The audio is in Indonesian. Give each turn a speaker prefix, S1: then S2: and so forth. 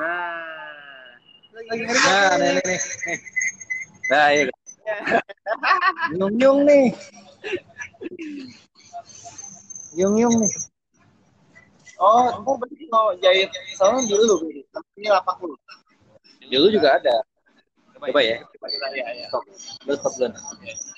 S1: Nah.
S2: Lagi ngeri
S1: Nah, nih, nih, nih. Nah, iya. Yung yung nih. Yung yung nih.
S2: Oh, kamu berarti mau jahit salon dulu lu. Ini lapak lu.
S1: Dulu juga ada. Coba ya.
S2: Iya, iya.
S1: Lu stop dulu.